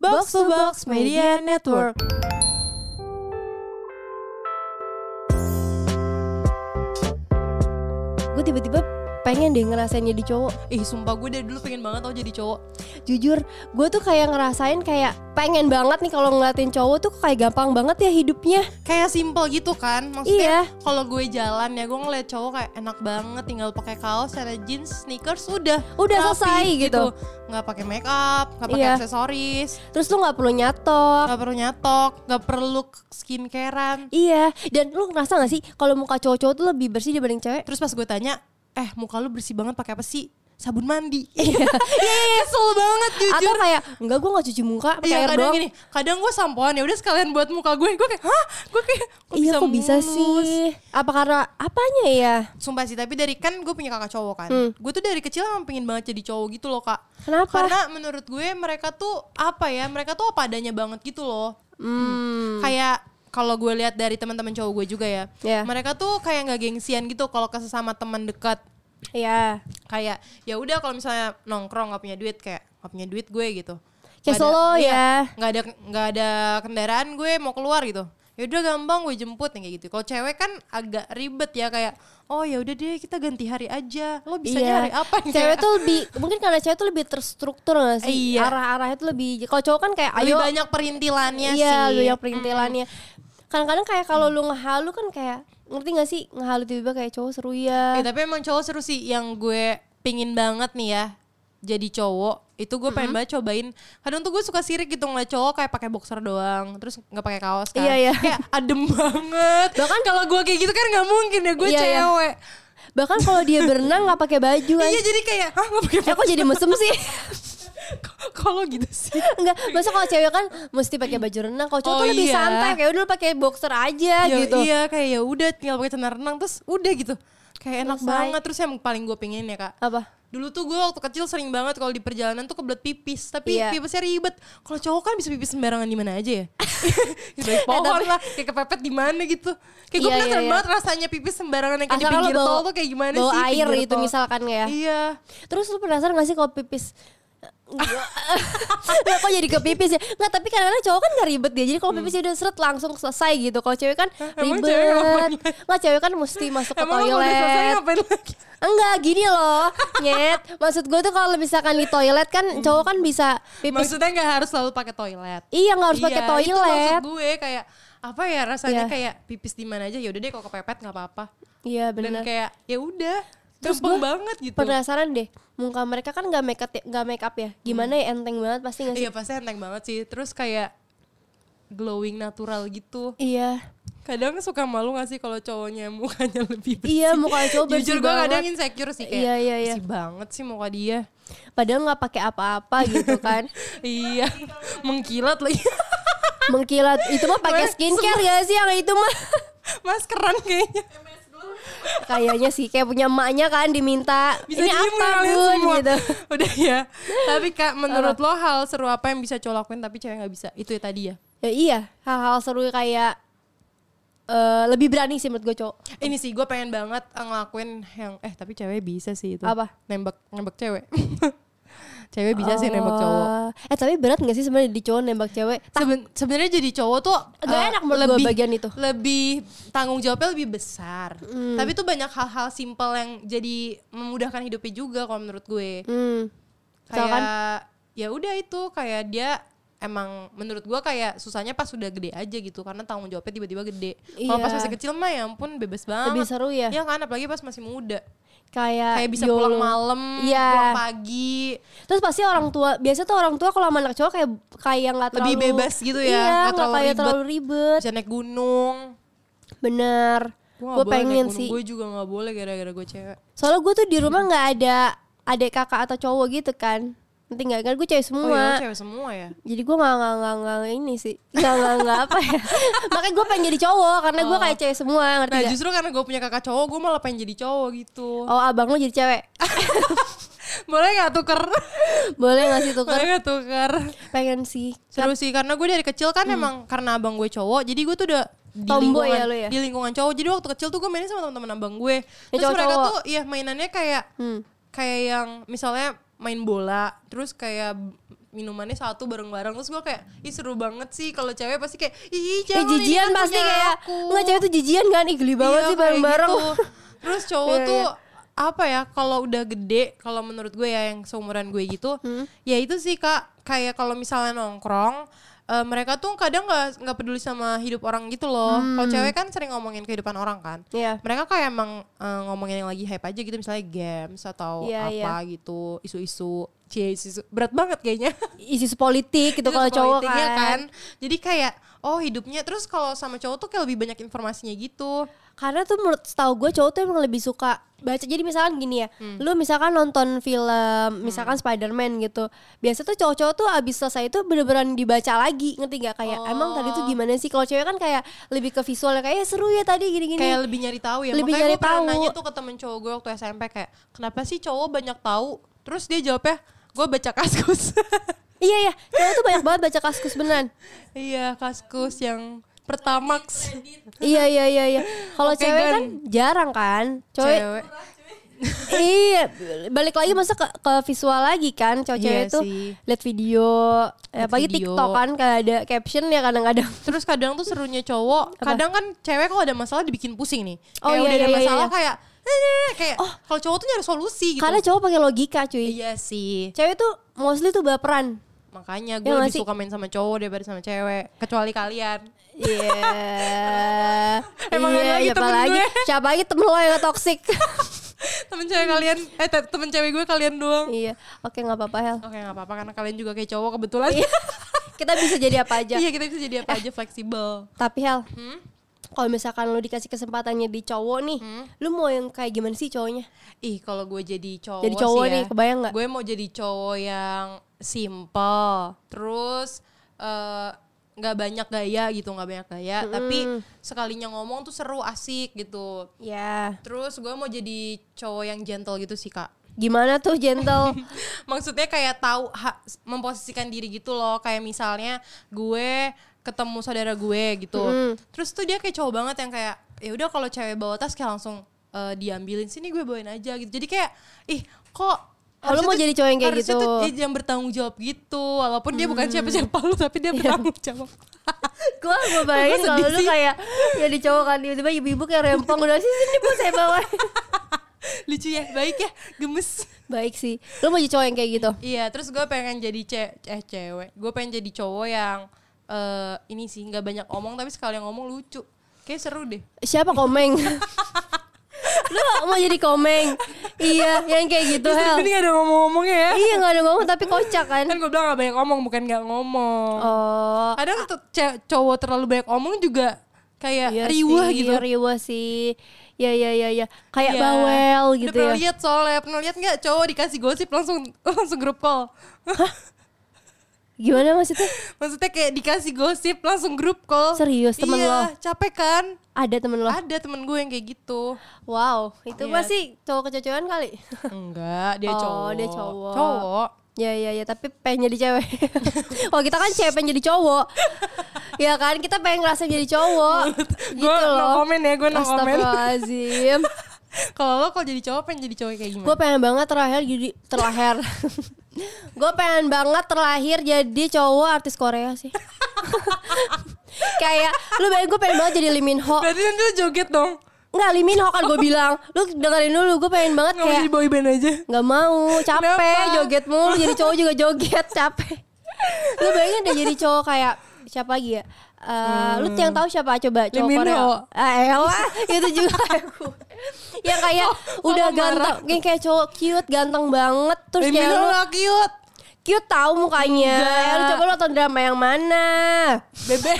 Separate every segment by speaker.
Speaker 1: Box to Box Media Network.
Speaker 2: Gue tiba-tiba pengen deh ngerasain jadi cowok
Speaker 1: Ih sumpah gue dari dulu pengen banget tau jadi cowok
Speaker 2: Jujur, gue tuh kayak ngerasain kayak pengen banget nih kalau ngeliatin cowok tuh kayak gampang banget ya hidupnya
Speaker 1: Kayak simple gitu kan Maksudnya
Speaker 2: Iya.
Speaker 1: kalau gue jalan ya gue ngeliat cowok kayak enak banget Tinggal pakai kaos, ada jeans, sneakers, udah
Speaker 2: Udah
Speaker 1: rapi
Speaker 2: selesai gitu.
Speaker 1: Nggak pakai make up, nggak pakai
Speaker 2: Iya.
Speaker 1: aksesoris
Speaker 2: Terus lu gak perlu nyatok
Speaker 1: Nggak perlu nyatok, nggak perlu skincarean
Speaker 2: Iya, dan lu ngerasa gak sih kalau muka cowok-cowok tuh lebih bersih dibanding cewek?
Speaker 1: Terus pas gue tanya, eh muka lu bersih banget pakai apa sih? Sabun mandi Iya, Kesel banget jujur
Speaker 2: Iya. Atau kayak, enggak gue gak cuci muka pakai
Speaker 1: Iya
Speaker 2: air
Speaker 1: kadang
Speaker 2: doang
Speaker 1: gini, kadang gue sampoan ya udah sekalian buat muka gue, gue kayak hah, gue kayak kok
Speaker 2: Iya kok bisa
Speaker 1: mulus?"
Speaker 2: sih Apa karena apanya ya?
Speaker 1: Sumpah sih, tapi dari kan gue punya kakak cowok kan,
Speaker 2: Hmm.
Speaker 1: gue tuh dari kecil emang pengen banget jadi cowok gitu loh kak.
Speaker 2: Kenapa?
Speaker 1: Karena menurut gue mereka tuh apa ya, mereka tuh apa adanya banget gitu loh.
Speaker 2: Hmm.
Speaker 1: Kayak kalau gue lihat dari teman-teman cowok gue juga ya,
Speaker 2: Iya.
Speaker 1: mereka tuh kayak nggak gengsian gitu kalau ke sesama teman dekat.
Speaker 2: Iya
Speaker 1: Kayak ya udah kalau misalnya nongkrong nggak punya duit kayak nggak punya duit gue gitu.
Speaker 2: Kayak
Speaker 1: Nggak ada-
Speaker 2: solo
Speaker 1: iya,
Speaker 2: ya.
Speaker 1: nggak ada nggak ada kendaraan gue mau keluar gitu ya udah gampang gue jemput yang kayak gitu kalau cewek kan agak ribet ya kayak oh ya udah deh kita ganti hari aja lo bisa
Speaker 2: Iya.
Speaker 1: hari apa gitu nih
Speaker 2: Cewek tuh lebih Mungkin karena cewek tuh lebih terstruktur gak sih?
Speaker 1: Iya.
Speaker 2: Arah-arahnya tuh lebih Kalau cowok kan kayak
Speaker 1: lebih
Speaker 2: ayo
Speaker 1: banyak perintilannya
Speaker 2: Iya
Speaker 1: sih
Speaker 2: lebih banyak perintilannya Kadang-kadang kayak kalau lu ngehalu kan kayak Ngerti gak sih? Ngehalu tiba-tiba kayak cowok seru
Speaker 1: Ya,
Speaker 2: ya
Speaker 1: tapi emang cowok seru sih yang gue pingin banget nih ya jadi cowok itu gue pengen banget cobain kadang tuh gue suka sirik gitu ngeliat cowok kayak pakai boxer doang terus nggak pakai kaos kan
Speaker 2: Iya, iya.
Speaker 1: kayak adem banget bahkan kalau gue kayak gitu kan nggak mungkin ya gue
Speaker 2: Iya, iya.
Speaker 1: cewek
Speaker 2: Bahkan kalau dia berenang gak pakai baju kan
Speaker 1: iya jadi kayak ah nggak pakai
Speaker 2: Eh kok jadi mesem sih?
Speaker 1: kalau gitu sih
Speaker 2: Enggak, masa kalau cewek kan mesti pakai baju renang, kalau cowok
Speaker 1: Oh,
Speaker 2: tuh lebih
Speaker 1: iya.
Speaker 2: santai kayak udah lu pakai boxer aja
Speaker 1: ya,
Speaker 2: gitu.
Speaker 1: iya kayak ya udah tinggal pakai celana renang terus udah gitu kayak enak
Speaker 2: Selesai.
Speaker 1: banget terus yang paling gue pengen ya kak
Speaker 2: Apa?
Speaker 1: dulu tuh gue waktu kecil sering banget kalau di perjalanan tuh kebelet pipis tapi
Speaker 2: Iya.
Speaker 1: pipisnya ribet kalau cowok kan bisa pipis sembarangan di mana aja ya gitu dari pohon
Speaker 2: Ya, tapi-
Speaker 1: lah kayak kepepet di mana gitu kayak gue
Speaker 2: Iya,
Speaker 1: penasaran
Speaker 2: iya, iya.
Speaker 1: banget rasanya pipis sembarangan yang kayak di
Speaker 2: Asal lu
Speaker 1: pinggir
Speaker 2: bawa-
Speaker 1: tol tuh kayak gimana
Speaker 2: bawa
Speaker 1: sih
Speaker 2: air
Speaker 1: pinggir
Speaker 2: gitu
Speaker 1: tol.
Speaker 2: misalkan ya.
Speaker 1: iya
Speaker 2: Terus lu penasaran gak sih kalau pipis? Nggak, kok jadi ke pipis ya? Nggak, tapi kadang-kadang cowok kan gak ribet dia Jadi kalau pipis ya udah seret langsung selesai gitu Kalau cewek kan
Speaker 1: Hmm. Eh, emang cewek ngapain
Speaker 2: ribet Nggak, cewek kan mesti masuk ke
Speaker 1: emang lo kalau udah selesai
Speaker 2: toilet
Speaker 1: ngapain lagi
Speaker 2: Enggak, gini loh Nyet, maksud gue tuh kalau misalkan di toilet
Speaker 1: Hmm.
Speaker 2: kan Cowok kan bisa pipis
Speaker 1: maksudnya nggak harus selalu pakai toilet
Speaker 2: Iya nggak harus pakai
Speaker 1: Iya, Itu maksud
Speaker 2: toilet
Speaker 1: gue kayak apa ya rasanya
Speaker 2: Iya.
Speaker 1: kayak pipis di mana aja ya udah deh kalau kepepet nggak apa-apa.
Speaker 2: Iya
Speaker 1: Dan
Speaker 2: benar.
Speaker 1: kayak ya udah
Speaker 2: Terus
Speaker 1: gampang
Speaker 2: gue
Speaker 1: banget gitu.
Speaker 2: Penasaran deh, muka mereka kan nggak make up, nggak make up ya? Gimana ya enteng banget pasti nggak sih?
Speaker 1: Hmm. Iya pasti enteng banget sih. Terus kayak glowing natural gitu.
Speaker 2: Iya,
Speaker 1: Kadang suka malu gak sih kalau cowoknya mukanya lebih bersih.
Speaker 2: iya muka cowok bersih
Speaker 1: Jujur gue
Speaker 2: banget.
Speaker 1: kadang insecure sih kayak
Speaker 2: Iya, iya, iya.
Speaker 1: bersih banget sih muka dia.
Speaker 2: Padahal nggak pakai apa-apa gitu kan?
Speaker 1: iya, mengkilat lagi.
Speaker 2: Mengkilat itu mah pakai
Speaker 1: Weh,
Speaker 2: skincare gak sih yang itu mah?
Speaker 1: Maskeran kayaknya.
Speaker 2: Kayaknya sih kayak punya emaknya kan diminta.
Speaker 1: Bisa
Speaker 2: Ini
Speaker 1: diem
Speaker 2: apa
Speaker 1: kalian
Speaker 2: bun
Speaker 1: semua.
Speaker 2: gitu?
Speaker 1: Udah ya. Tapi Kak, menurut lo hal seru apa yang bisa cowok lakuin tapi cewek nggak bisa? Itu ya tadi ya.
Speaker 2: Ya, iya, hal-hal seru kayak eh, lebih berani sih menurut gue cowok.
Speaker 1: Ini sih gue pengen banget ngelakuin yang eh tapi cewek bisa sih itu.
Speaker 2: Apa?
Speaker 1: Nembak nembak cewek. cewek bisa sih nembak cowok.
Speaker 2: Oh. Eh tapi berat gak sih sebenarnya di cowok nembak cewek?
Speaker 1: Seben- sebenarnya jadi cowok tuh
Speaker 2: Gak
Speaker 1: eh,
Speaker 2: enak menurut gua bagian itu.
Speaker 1: lebih tanggung jawabnya lebih besar
Speaker 2: Hmm.
Speaker 1: tapi tuh banyak hal-hal simpel yang jadi memudahkan hidupnya juga kalau menurut gue
Speaker 2: Hmm. Misalkan?
Speaker 1: kayak ya udah itu kayak dia emang menurut gua kayak susahnya pas sudah gede aja gitu karena tanggung jawabnya tiba-tiba gede kalau
Speaker 2: Iya.
Speaker 1: pas masih kecil mah ya ampun bebas banget
Speaker 2: Lebih seru ya?
Speaker 1: ya kan apalagi pas masih muda
Speaker 2: kayak
Speaker 1: kayak bisa
Speaker 2: YOLO.
Speaker 1: pulang malam
Speaker 2: Iya.
Speaker 1: pulang pagi
Speaker 2: terus pasti orang tua biasa tuh orang tua kalau sama anak cowok kayak kayak nggak terlalu
Speaker 1: Lebih bebas gitu ya,
Speaker 2: iya
Speaker 1: nggak
Speaker 2: nggak
Speaker 1: terlalu
Speaker 2: kayak
Speaker 1: ribet.
Speaker 2: terlalu ribet
Speaker 1: bisa naik gunung
Speaker 2: bener
Speaker 1: Gua
Speaker 2: gue pengen sih
Speaker 1: gue juga nggak boleh gara-gara gue cewek
Speaker 2: soalnya gue tuh di rumah nggak ada adik kakak atau cowok gitu kan nanti nggak kan gue
Speaker 1: oh
Speaker 2: cewek
Speaker 1: iya lo
Speaker 2: semua
Speaker 1: cewek semua ya
Speaker 2: jadi gue nggak nggak nggak nggak ini sih nggak nggak nggak apa ya makanya gue pengen jadi cowok karena gue kayak cewek semua ngerti
Speaker 1: Oh. nah
Speaker 2: nggak?
Speaker 1: justru karena gue punya kakak cowok gue malah pengen jadi cowok gitu
Speaker 2: oh abang lo jadi cewek
Speaker 1: boleh nggak tuker
Speaker 2: boleh nggak sih tuker
Speaker 1: boleh nggak tuker
Speaker 2: pengen sih
Speaker 1: seru sih karena gue dari kecil kan emang karena abang gue cowok jadi gue tuh udah di
Speaker 2: Hmm.
Speaker 1: lingkungan
Speaker 2: Tomboy ya lu ya?
Speaker 1: di lingkungan cowok jadi waktu kecil tuh gue mainnya sama teman-teman abang gue terus mereka
Speaker 2: cowok-cowok.
Speaker 1: tuh iya mainannya kayak
Speaker 2: Hmm.
Speaker 1: kayak yang misalnya main bola terus kayak minumannya satu bareng-bareng terus gue kayak ih seru banget sih kalau cewek pasti kayak ih
Speaker 2: Eh
Speaker 1: jangan ini
Speaker 2: jijian
Speaker 1: kan
Speaker 2: pasti
Speaker 1: punya
Speaker 2: kayak
Speaker 1: aku."
Speaker 2: Nggak cewek tuh jijian kan Ih geli banget
Speaker 1: Iya,
Speaker 2: sih
Speaker 1: kayak
Speaker 2: bareng-bareng
Speaker 1: gitu. Terus cowok
Speaker 2: Iya,
Speaker 1: tuh
Speaker 2: iya.
Speaker 1: apa ya kalau udah gede kalau menurut gue ya yang seumuran gue gitu
Speaker 2: Hmm?
Speaker 1: ya itu sih kak kayak kalau misalnya nongkrong eh, mereka tuh kadang nggak nggak peduli sama hidup orang gitu loh
Speaker 2: Hmm.
Speaker 1: kalau cewek kan sering ngomongin kehidupan orang kan
Speaker 2: Iya.
Speaker 1: mereka kayak emang eh, ngomongin yang lagi hype aja gitu misalnya games atau
Speaker 2: Iya,
Speaker 1: apa gitu isu-isu cie isu berat banget kayaknya
Speaker 2: Isu politik
Speaker 1: Itu
Speaker 2: gitu kalau cowok
Speaker 1: politiknya
Speaker 2: kan.
Speaker 1: jadi kayak oh hidupnya terus kalau sama cowok tuh kayak lebih banyak informasinya gitu
Speaker 2: Karena tuh menurut setahu gue cowok tuh emang lebih suka baca. Jadi misalkan gini ya,
Speaker 1: Hmm.
Speaker 2: lu misalkan nonton film, misalkan Spider-Man gitu. Biasa tuh cowok-cowok tuh abis selesai itu bener-beneran dibaca lagi. Ngerti gak? Kayak emang tadi
Speaker 1: Oh.
Speaker 2: tuh gimana sih? Kalau cewek kan kayak lebih ke visualnya kayak "Ya, seru ya tadi gini-gini.
Speaker 1: kayak lebih nyari tahu ya
Speaker 2: Lebih
Speaker 1: makanya
Speaker 2: nyari
Speaker 1: gue pernah
Speaker 2: tahu.
Speaker 1: nanya tuh ke temen cowok gue waktu SMP kayak kenapa sih cowok banyak tahu terus dia jawabnya gue baca kaskus
Speaker 2: Iya ya, cowok tuh banyak banget baca kaskus beneran.
Speaker 1: iya kaskus yang pertamax
Speaker 2: iya iya iya iya. Kalau
Speaker 1: Oke,
Speaker 2: cewek
Speaker 1: Gan.
Speaker 2: kan jarang kan. Cowok
Speaker 1: cewek
Speaker 2: iya balik lagi masa ke, ke visual lagi kan cowok cewek
Speaker 1: Iya
Speaker 2: tuh
Speaker 1: sih.
Speaker 2: lihat video
Speaker 1: Liat
Speaker 2: apalagi
Speaker 1: video.
Speaker 2: TikTok kan kayak ada caption ya kadang-kadang
Speaker 1: terus kadang tuh serunya cowok
Speaker 2: Apa?
Speaker 1: kadang kan cewek kalau ada masalah dibikin pusing nih kayak
Speaker 2: Oh, iya,
Speaker 1: udah ada
Speaker 2: iya, iya,
Speaker 1: masalah
Speaker 2: iya. Oh.
Speaker 1: kayak "Eh," kayak kalau cowok tuh nyari solusi gitu
Speaker 2: karena cowok pakai logika cuy
Speaker 1: iya sih
Speaker 2: cewek tuh mostly tuh baperan
Speaker 1: makanya gue
Speaker 2: Iya nggak
Speaker 1: lebih
Speaker 2: sih?
Speaker 1: suka main sama cowok daripada sama cewek kecuali kalian
Speaker 2: Iya.
Speaker 1: Emang ada lagi
Speaker 2: siapa
Speaker 1: temen
Speaker 2: lagi?
Speaker 1: gue?
Speaker 2: Siapa lagi temen lo yang toxic?
Speaker 1: temen cewek kalian eh te- temen cewek gue kalian doang
Speaker 2: iya. Oke, nggak apa-apa, Hel.
Speaker 1: oke nggak apa-apa karena kalian juga kayak cowok kebetulan
Speaker 2: Iya. Kita bisa jadi apa aja.
Speaker 1: Iya kita bisa jadi apa aja fleksibel.
Speaker 2: Tapi Hel,
Speaker 1: Hmm?
Speaker 2: kalau misalkan lu dikasih kesempatannya di cowok nih,
Speaker 1: Hmm?
Speaker 2: lu mau yang kayak gimana sih cowoknya?
Speaker 1: Ih kalau gue jadi cowok
Speaker 2: Jadi cowok
Speaker 1: sih ya,
Speaker 2: nih, kebayang nggak?
Speaker 1: Gue mau jadi cowok yang simple, terus eh, nggak banyak gaya gitu, nggak banyak gaya. Tapi sekalinya ngomong tuh seru, asik gitu.
Speaker 2: Ya,
Speaker 1: Terus gue mau jadi cowok yang gentle gitu sih kak.
Speaker 2: gimana tuh gentle?
Speaker 1: Maksudnya kayak tahu ha- memposisikan diri gitu loh. Kayak misalnya gue ketemu saudara gue gitu. Terus tuh dia kayak cowok banget yang kayak ya udah kalau cewek bawa tas kayak langsung eh, diambilin sini gue bawain aja gitu. Jadi kayak ih kok
Speaker 2: Oh, lu
Speaker 1: harusnya
Speaker 2: mau
Speaker 1: tuh-
Speaker 2: jadi cowok yang kayak
Speaker 1: harusnya
Speaker 2: gitu. Mm.
Speaker 1: tuh dia yang bertanggung jawab gitu. Walaupun dia bukan siapa-siapa lu tapi
Speaker 2: Iya.
Speaker 1: dia bertanggung jawab.
Speaker 2: gue gue bayangin
Speaker 1: Gua sedih
Speaker 2: kalau lu
Speaker 1: sih.
Speaker 2: kayak jadi cowok kan tiba-tiba ibu-ibu kayak rempong udah sih sini bu saya bawa
Speaker 1: Lucu ya, baik ya, gemes.
Speaker 2: baik sih lu mau jadi cowok yang kayak gitu
Speaker 1: Iya, terus gue pengen jadi ce eh cewek. Gue pengen jadi cowok yang eh ini sih nggak banyak omong tapi sekali yang ngomong lucu. Kayak seru deh.
Speaker 2: siapa komeng lu mau jadi komeng iya yang kayak gitu hel
Speaker 1: gak ada ngomong-ngomongnya ya.
Speaker 2: iya nggak ada ngomong tapi kocak kan
Speaker 1: Kan gue bilang gak banyak omong bukan gak ngomong.
Speaker 2: oh
Speaker 1: Kadang tuh ce- cowok terlalu banyak omong juga kayak
Speaker 2: iya
Speaker 1: riwah
Speaker 2: sih,
Speaker 1: gitu.
Speaker 2: riwah sih ya ya ya ya kayak
Speaker 1: Iya.
Speaker 2: bawel
Speaker 1: Udah
Speaker 2: gitu
Speaker 1: pernah
Speaker 2: ya
Speaker 1: lihat soalnya, pernah lihat nggak cowok dikasih gosip langsung langsung grup call.
Speaker 2: gimana maksudnya
Speaker 1: Maksudnya kayak dikasih gosip langsung grup call.
Speaker 2: Serius, temen
Speaker 1: iya,
Speaker 2: lo?
Speaker 1: capek kan?
Speaker 2: ada temen lo
Speaker 1: Ada temen gue yang kayak gitu.
Speaker 2: wow itu
Speaker 1: Iya.
Speaker 2: masih cowok kecocokan kali
Speaker 1: Enggak, dia
Speaker 2: Oh,
Speaker 1: cowok.
Speaker 2: dia cowok.
Speaker 1: Cowok.
Speaker 2: Ya ya ya, tapi pengen jadi cewek. oh kita kan cewek pengen jadi cowok. ya kan kita pengen ngerasa jadi cowok. gitu
Speaker 1: Gua no
Speaker 2: loh.
Speaker 1: comment ya, gua no comment.
Speaker 2: Astagfirullahaladzim.
Speaker 1: Kalau lo kalau jadi cowok pengen jadi cowok kayak gimana?
Speaker 2: gue pengen banget terakhir jadi terlahir. gue pengen banget terlahir jadi cowok artis Korea sih. Kayak lu bayangin gue pengen banget jadi Lee Min Ho.
Speaker 1: Berarti nanti lo joget dong.
Speaker 2: Enggak Lee Min Ho kan gue bilang. Lu dengerin dulu gue pengen banget
Speaker 1: Nggak mau
Speaker 2: kayak
Speaker 1: jadi boy band aja.
Speaker 2: Gak mau, capek
Speaker 1: Kenapa?
Speaker 2: joget mulu Jadi cowok juga joget, capek Lu bayangin deh jadi cowok kayak Siapa lagi ya? Eh, Lu yang tahu siapa coba cowok
Speaker 1: Hmm. Min
Speaker 2: Korea?
Speaker 1: Ho.
Speaker 2: Ah, elah, itu juga aku. Yang kayak
Speaker 1: oh,
Speaker 2: udah
Speaker 1: marah.
Speaker 2: ganteng, yang kayak cowok cute, ganteng banget, terus
Speaker 1: Terus
Speaker 2: kayak lu
Speaker 1: cute.
Speaker 2: cute tahu mukanya.
Speaker 1: Enggak.
Speaker 2: Eh, Lu coba lu nonton drama yang mana?
Speaker 1: Bebe.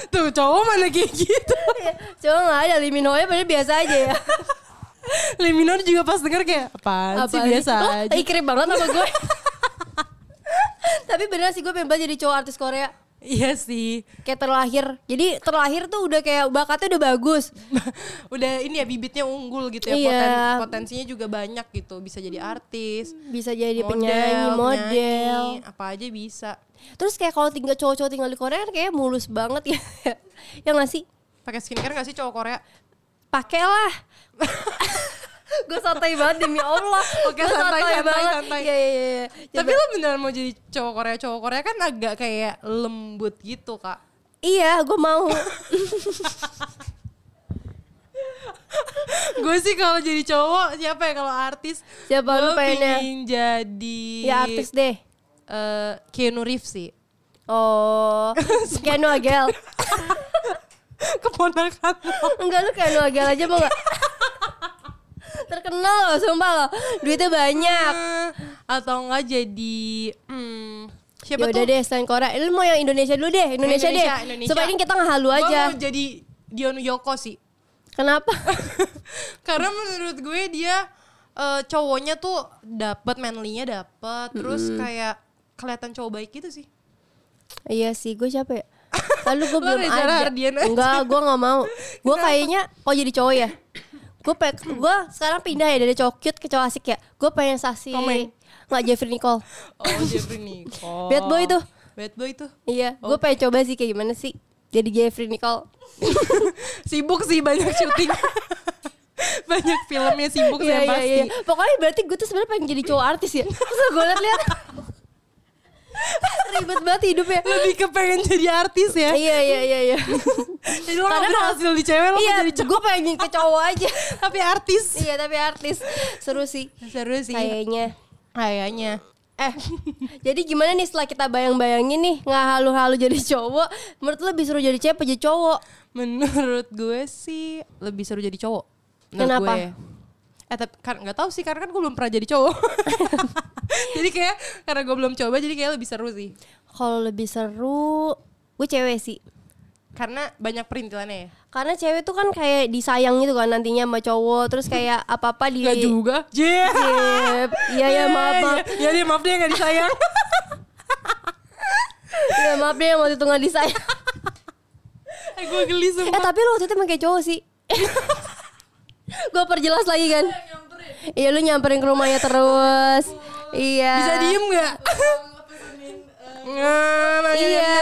Speaker 1: Tuh cowok mana kayak gitu
Speaker 2: Cowok nggak ada, Lee Min Ho-nya padahal biasa aja ya.
Speaker 1: Lemino juga pas denger kayak Apaan, sih
Speaker 2: Apaan Oh,
Speaker 1: biasa
Speaker 2: Lo
Speaker 1: aja
Speaker 2: ikrip banget sama gue. Tapi bener sih gue pengen banget jadi cowok artis Korea.
Speaker 1: Iya sih
Speaker 2: kayak terlahir jadi terlahir tuh udah kayak bakatnya udah bagus
Speaker 1: Udah ini ya bibitnya unggul gitu ya
Speaker 2: Iya.
Speaker 1: poten- Potensinya juga banyak gitu Bisa jadi artis
Speaker 2: bisa jadi
Speaker 1: model,
Speaker 2: penyanyi model
Speaker 1: penyanyi, Apa aja bisa
Speaker 2: terus kayak kalau tinggal cowok-cowok tinggal di Korea kan kayak mulus banget ya ya nggak sih
Speaker 1: Pakai skincare gak sih cowok Korea?
Speaker 2: pakailah gue santai banget demi Allah.
Speaker 1: Oke,
Speaker 2: Gua
Speaker 1: santai, santai,
Speaker 2: banget.
Speaker 1: santai.
Speaker 2: Iya iya iya.
Speaker 1: Tapi lo beneran mau jadi cowok Korea cowok Korea kan agak kayak lembut gitu kak.
Speaker 2: Iya, gue mau.
Speaker 1: gue sih kalau jadi cowok siapa ya kalau artis?
Speaker 2: Siapa lu
Speaker 1: gue
Speaker 2: pengennya?
Speaker 1: pengen jadi
Speaker 2: ya artis deh.
Speaker 1: eh, Keanu Reeves sih.
Speaker 2: Oh, kayak Noah Gel.
Speaker 1: Keponakan lo.
Speaker 2: Enggak lu kayak Noah Gel aja mau gak? Terkenal loh, sumpah loh. Duitnya banyak.
Speaker 1: Atau enggak jadi hmm, siapa
Speaker 2: Yaudah
Speaker 1: tuh?
Speaker 2: deh selain Korea, Eh, lu mau yang Indonesia dulu deh, Indonesia,
Speaker 1: Indonesia,
Speaker 2: deh.
Speaker 1: Indonesia.
Speaker 2: Supaya ini kita ngehalu
Speaker 1: Gua
Speaker 2: aja.
Speaker 1: mau jadi Dion Yoko sih.
Speaker 2: Kenapa?
Speaker 1: Karena menurut gue dia eh, cowoknya tuh dapat manly-nya dapat, terus kayak kelihatan cowok baik gitu sih.
Speaker 2: iya sih, gue siapa ya? Lalu gue
Speaker 1: Lu
Speaker 2: belum
Speaker 1: Reza
Speaker 2: ada.
Speaker 1: Rahardian aja.
Speaker 2: Enggak, gue nggak mau. Gue kayaknya kok jadi cowok ya. Gue pek, gue sekarang pindah ya dari cowok cute ke cowok asik ya. Gue pengen sasi.
Speaker 1: Komen.
Speaker 2: Nggak Jeffrey Nicole.
Speaker 1: Oh, Jeffrey Nicole.
Speaker 2: Bad boy tuh.
Speaker 1: Bad boy tuh.
Speaker 2: Iya, gue
Speaker 1: Oh.
Speaker 2: pengen coba sih kayak gimana sih jadi Jeffrey Nicole.
Speaker 1: Sibuk sih banyak syuting. banyak filmnya sibuk saya
Speaker 2: Iya, iya,
Speaker 1: pasti.
Speaker 2: iya. Pokoknya berarti gue tuh sebenarnya pengen jadi cowok artis ya. Terus gue liat-liat. Ribet banget hidupnya.
Speaker 1: Lebih kepengen jadi artis ya.
Speaker 2: Iya, iya, iya, iya.
Speaker 1: Jadi lo
Speaker 2: Karena
Speaker 1: Karena
Speaker 2: kalau-
Speaker 1: hasil di cewek lo
Speaker 2: iya,
Speaker 1: mau jadi cowok.
Speaker 2: gue pengen ke cowok aja.
Speaker 1: Tapi artis.
Speaker 2: iya, tapi artis seru sih
Speaker 1: Seru sih.
Speaker 2: kayaknya.
Speaker 1: Kayaknya.
Speaker 2: Eh, jadi gimana nih setelah kita bayang-bayangin nih nggak halu-halu jadi cowok? Menurut lo lebih seru jadi cewek apa jadi cowok?
Speaker 1: Menurut gue sih lebih seru jadi cowok. Menurut
Speaker 2: Kenapa?
Speaker 1: Gue. Eh tapi kan nggak tahu sih karena kan gue belum pernah jadi cowok. jadi kayak karena gue belum coba jadi kayak lebih seru sih.
Speaker 2: Kalau lebih seru, gue cewek sih.
Speaker 1: Karena banyak perintilannya ya.
Speaker 2: Karena cewek tuh kan kayak disayang gitu kan nantinya sama cowok, terus kayak apa-apa di
Speaker 1: Gak juga. Jep.
Speaker 2: iya. Jep. Iya ya maaf maaf.
Speaker 1: Ya, dia maaf dia gak disayang.
Speaker 2: Iya maaf deh yang waktu itu nggak disayang.
Speaker 1: eh gue geli
Speaker 2: Eh
Speaker 1: sumpah.
Speaker 2: tapi lo waktu itu emang kayak cowok sih. gue perjelas lagi kan. Iya lu nyamperin ke rumahnya terus. Iya.
Speaker 1: Bisa diem gak? Nggak, nanya
Speaker 2: Iya,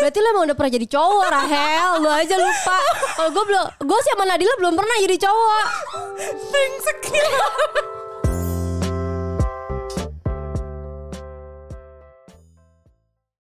Speaker 2: berarti lo emang udah pernah jadi cowok Rahel, lu aja lupa. Kalau gue belum, gue sih sama Nadila belum pernah jadi cowok. ya.
Speaker 1: Brengsek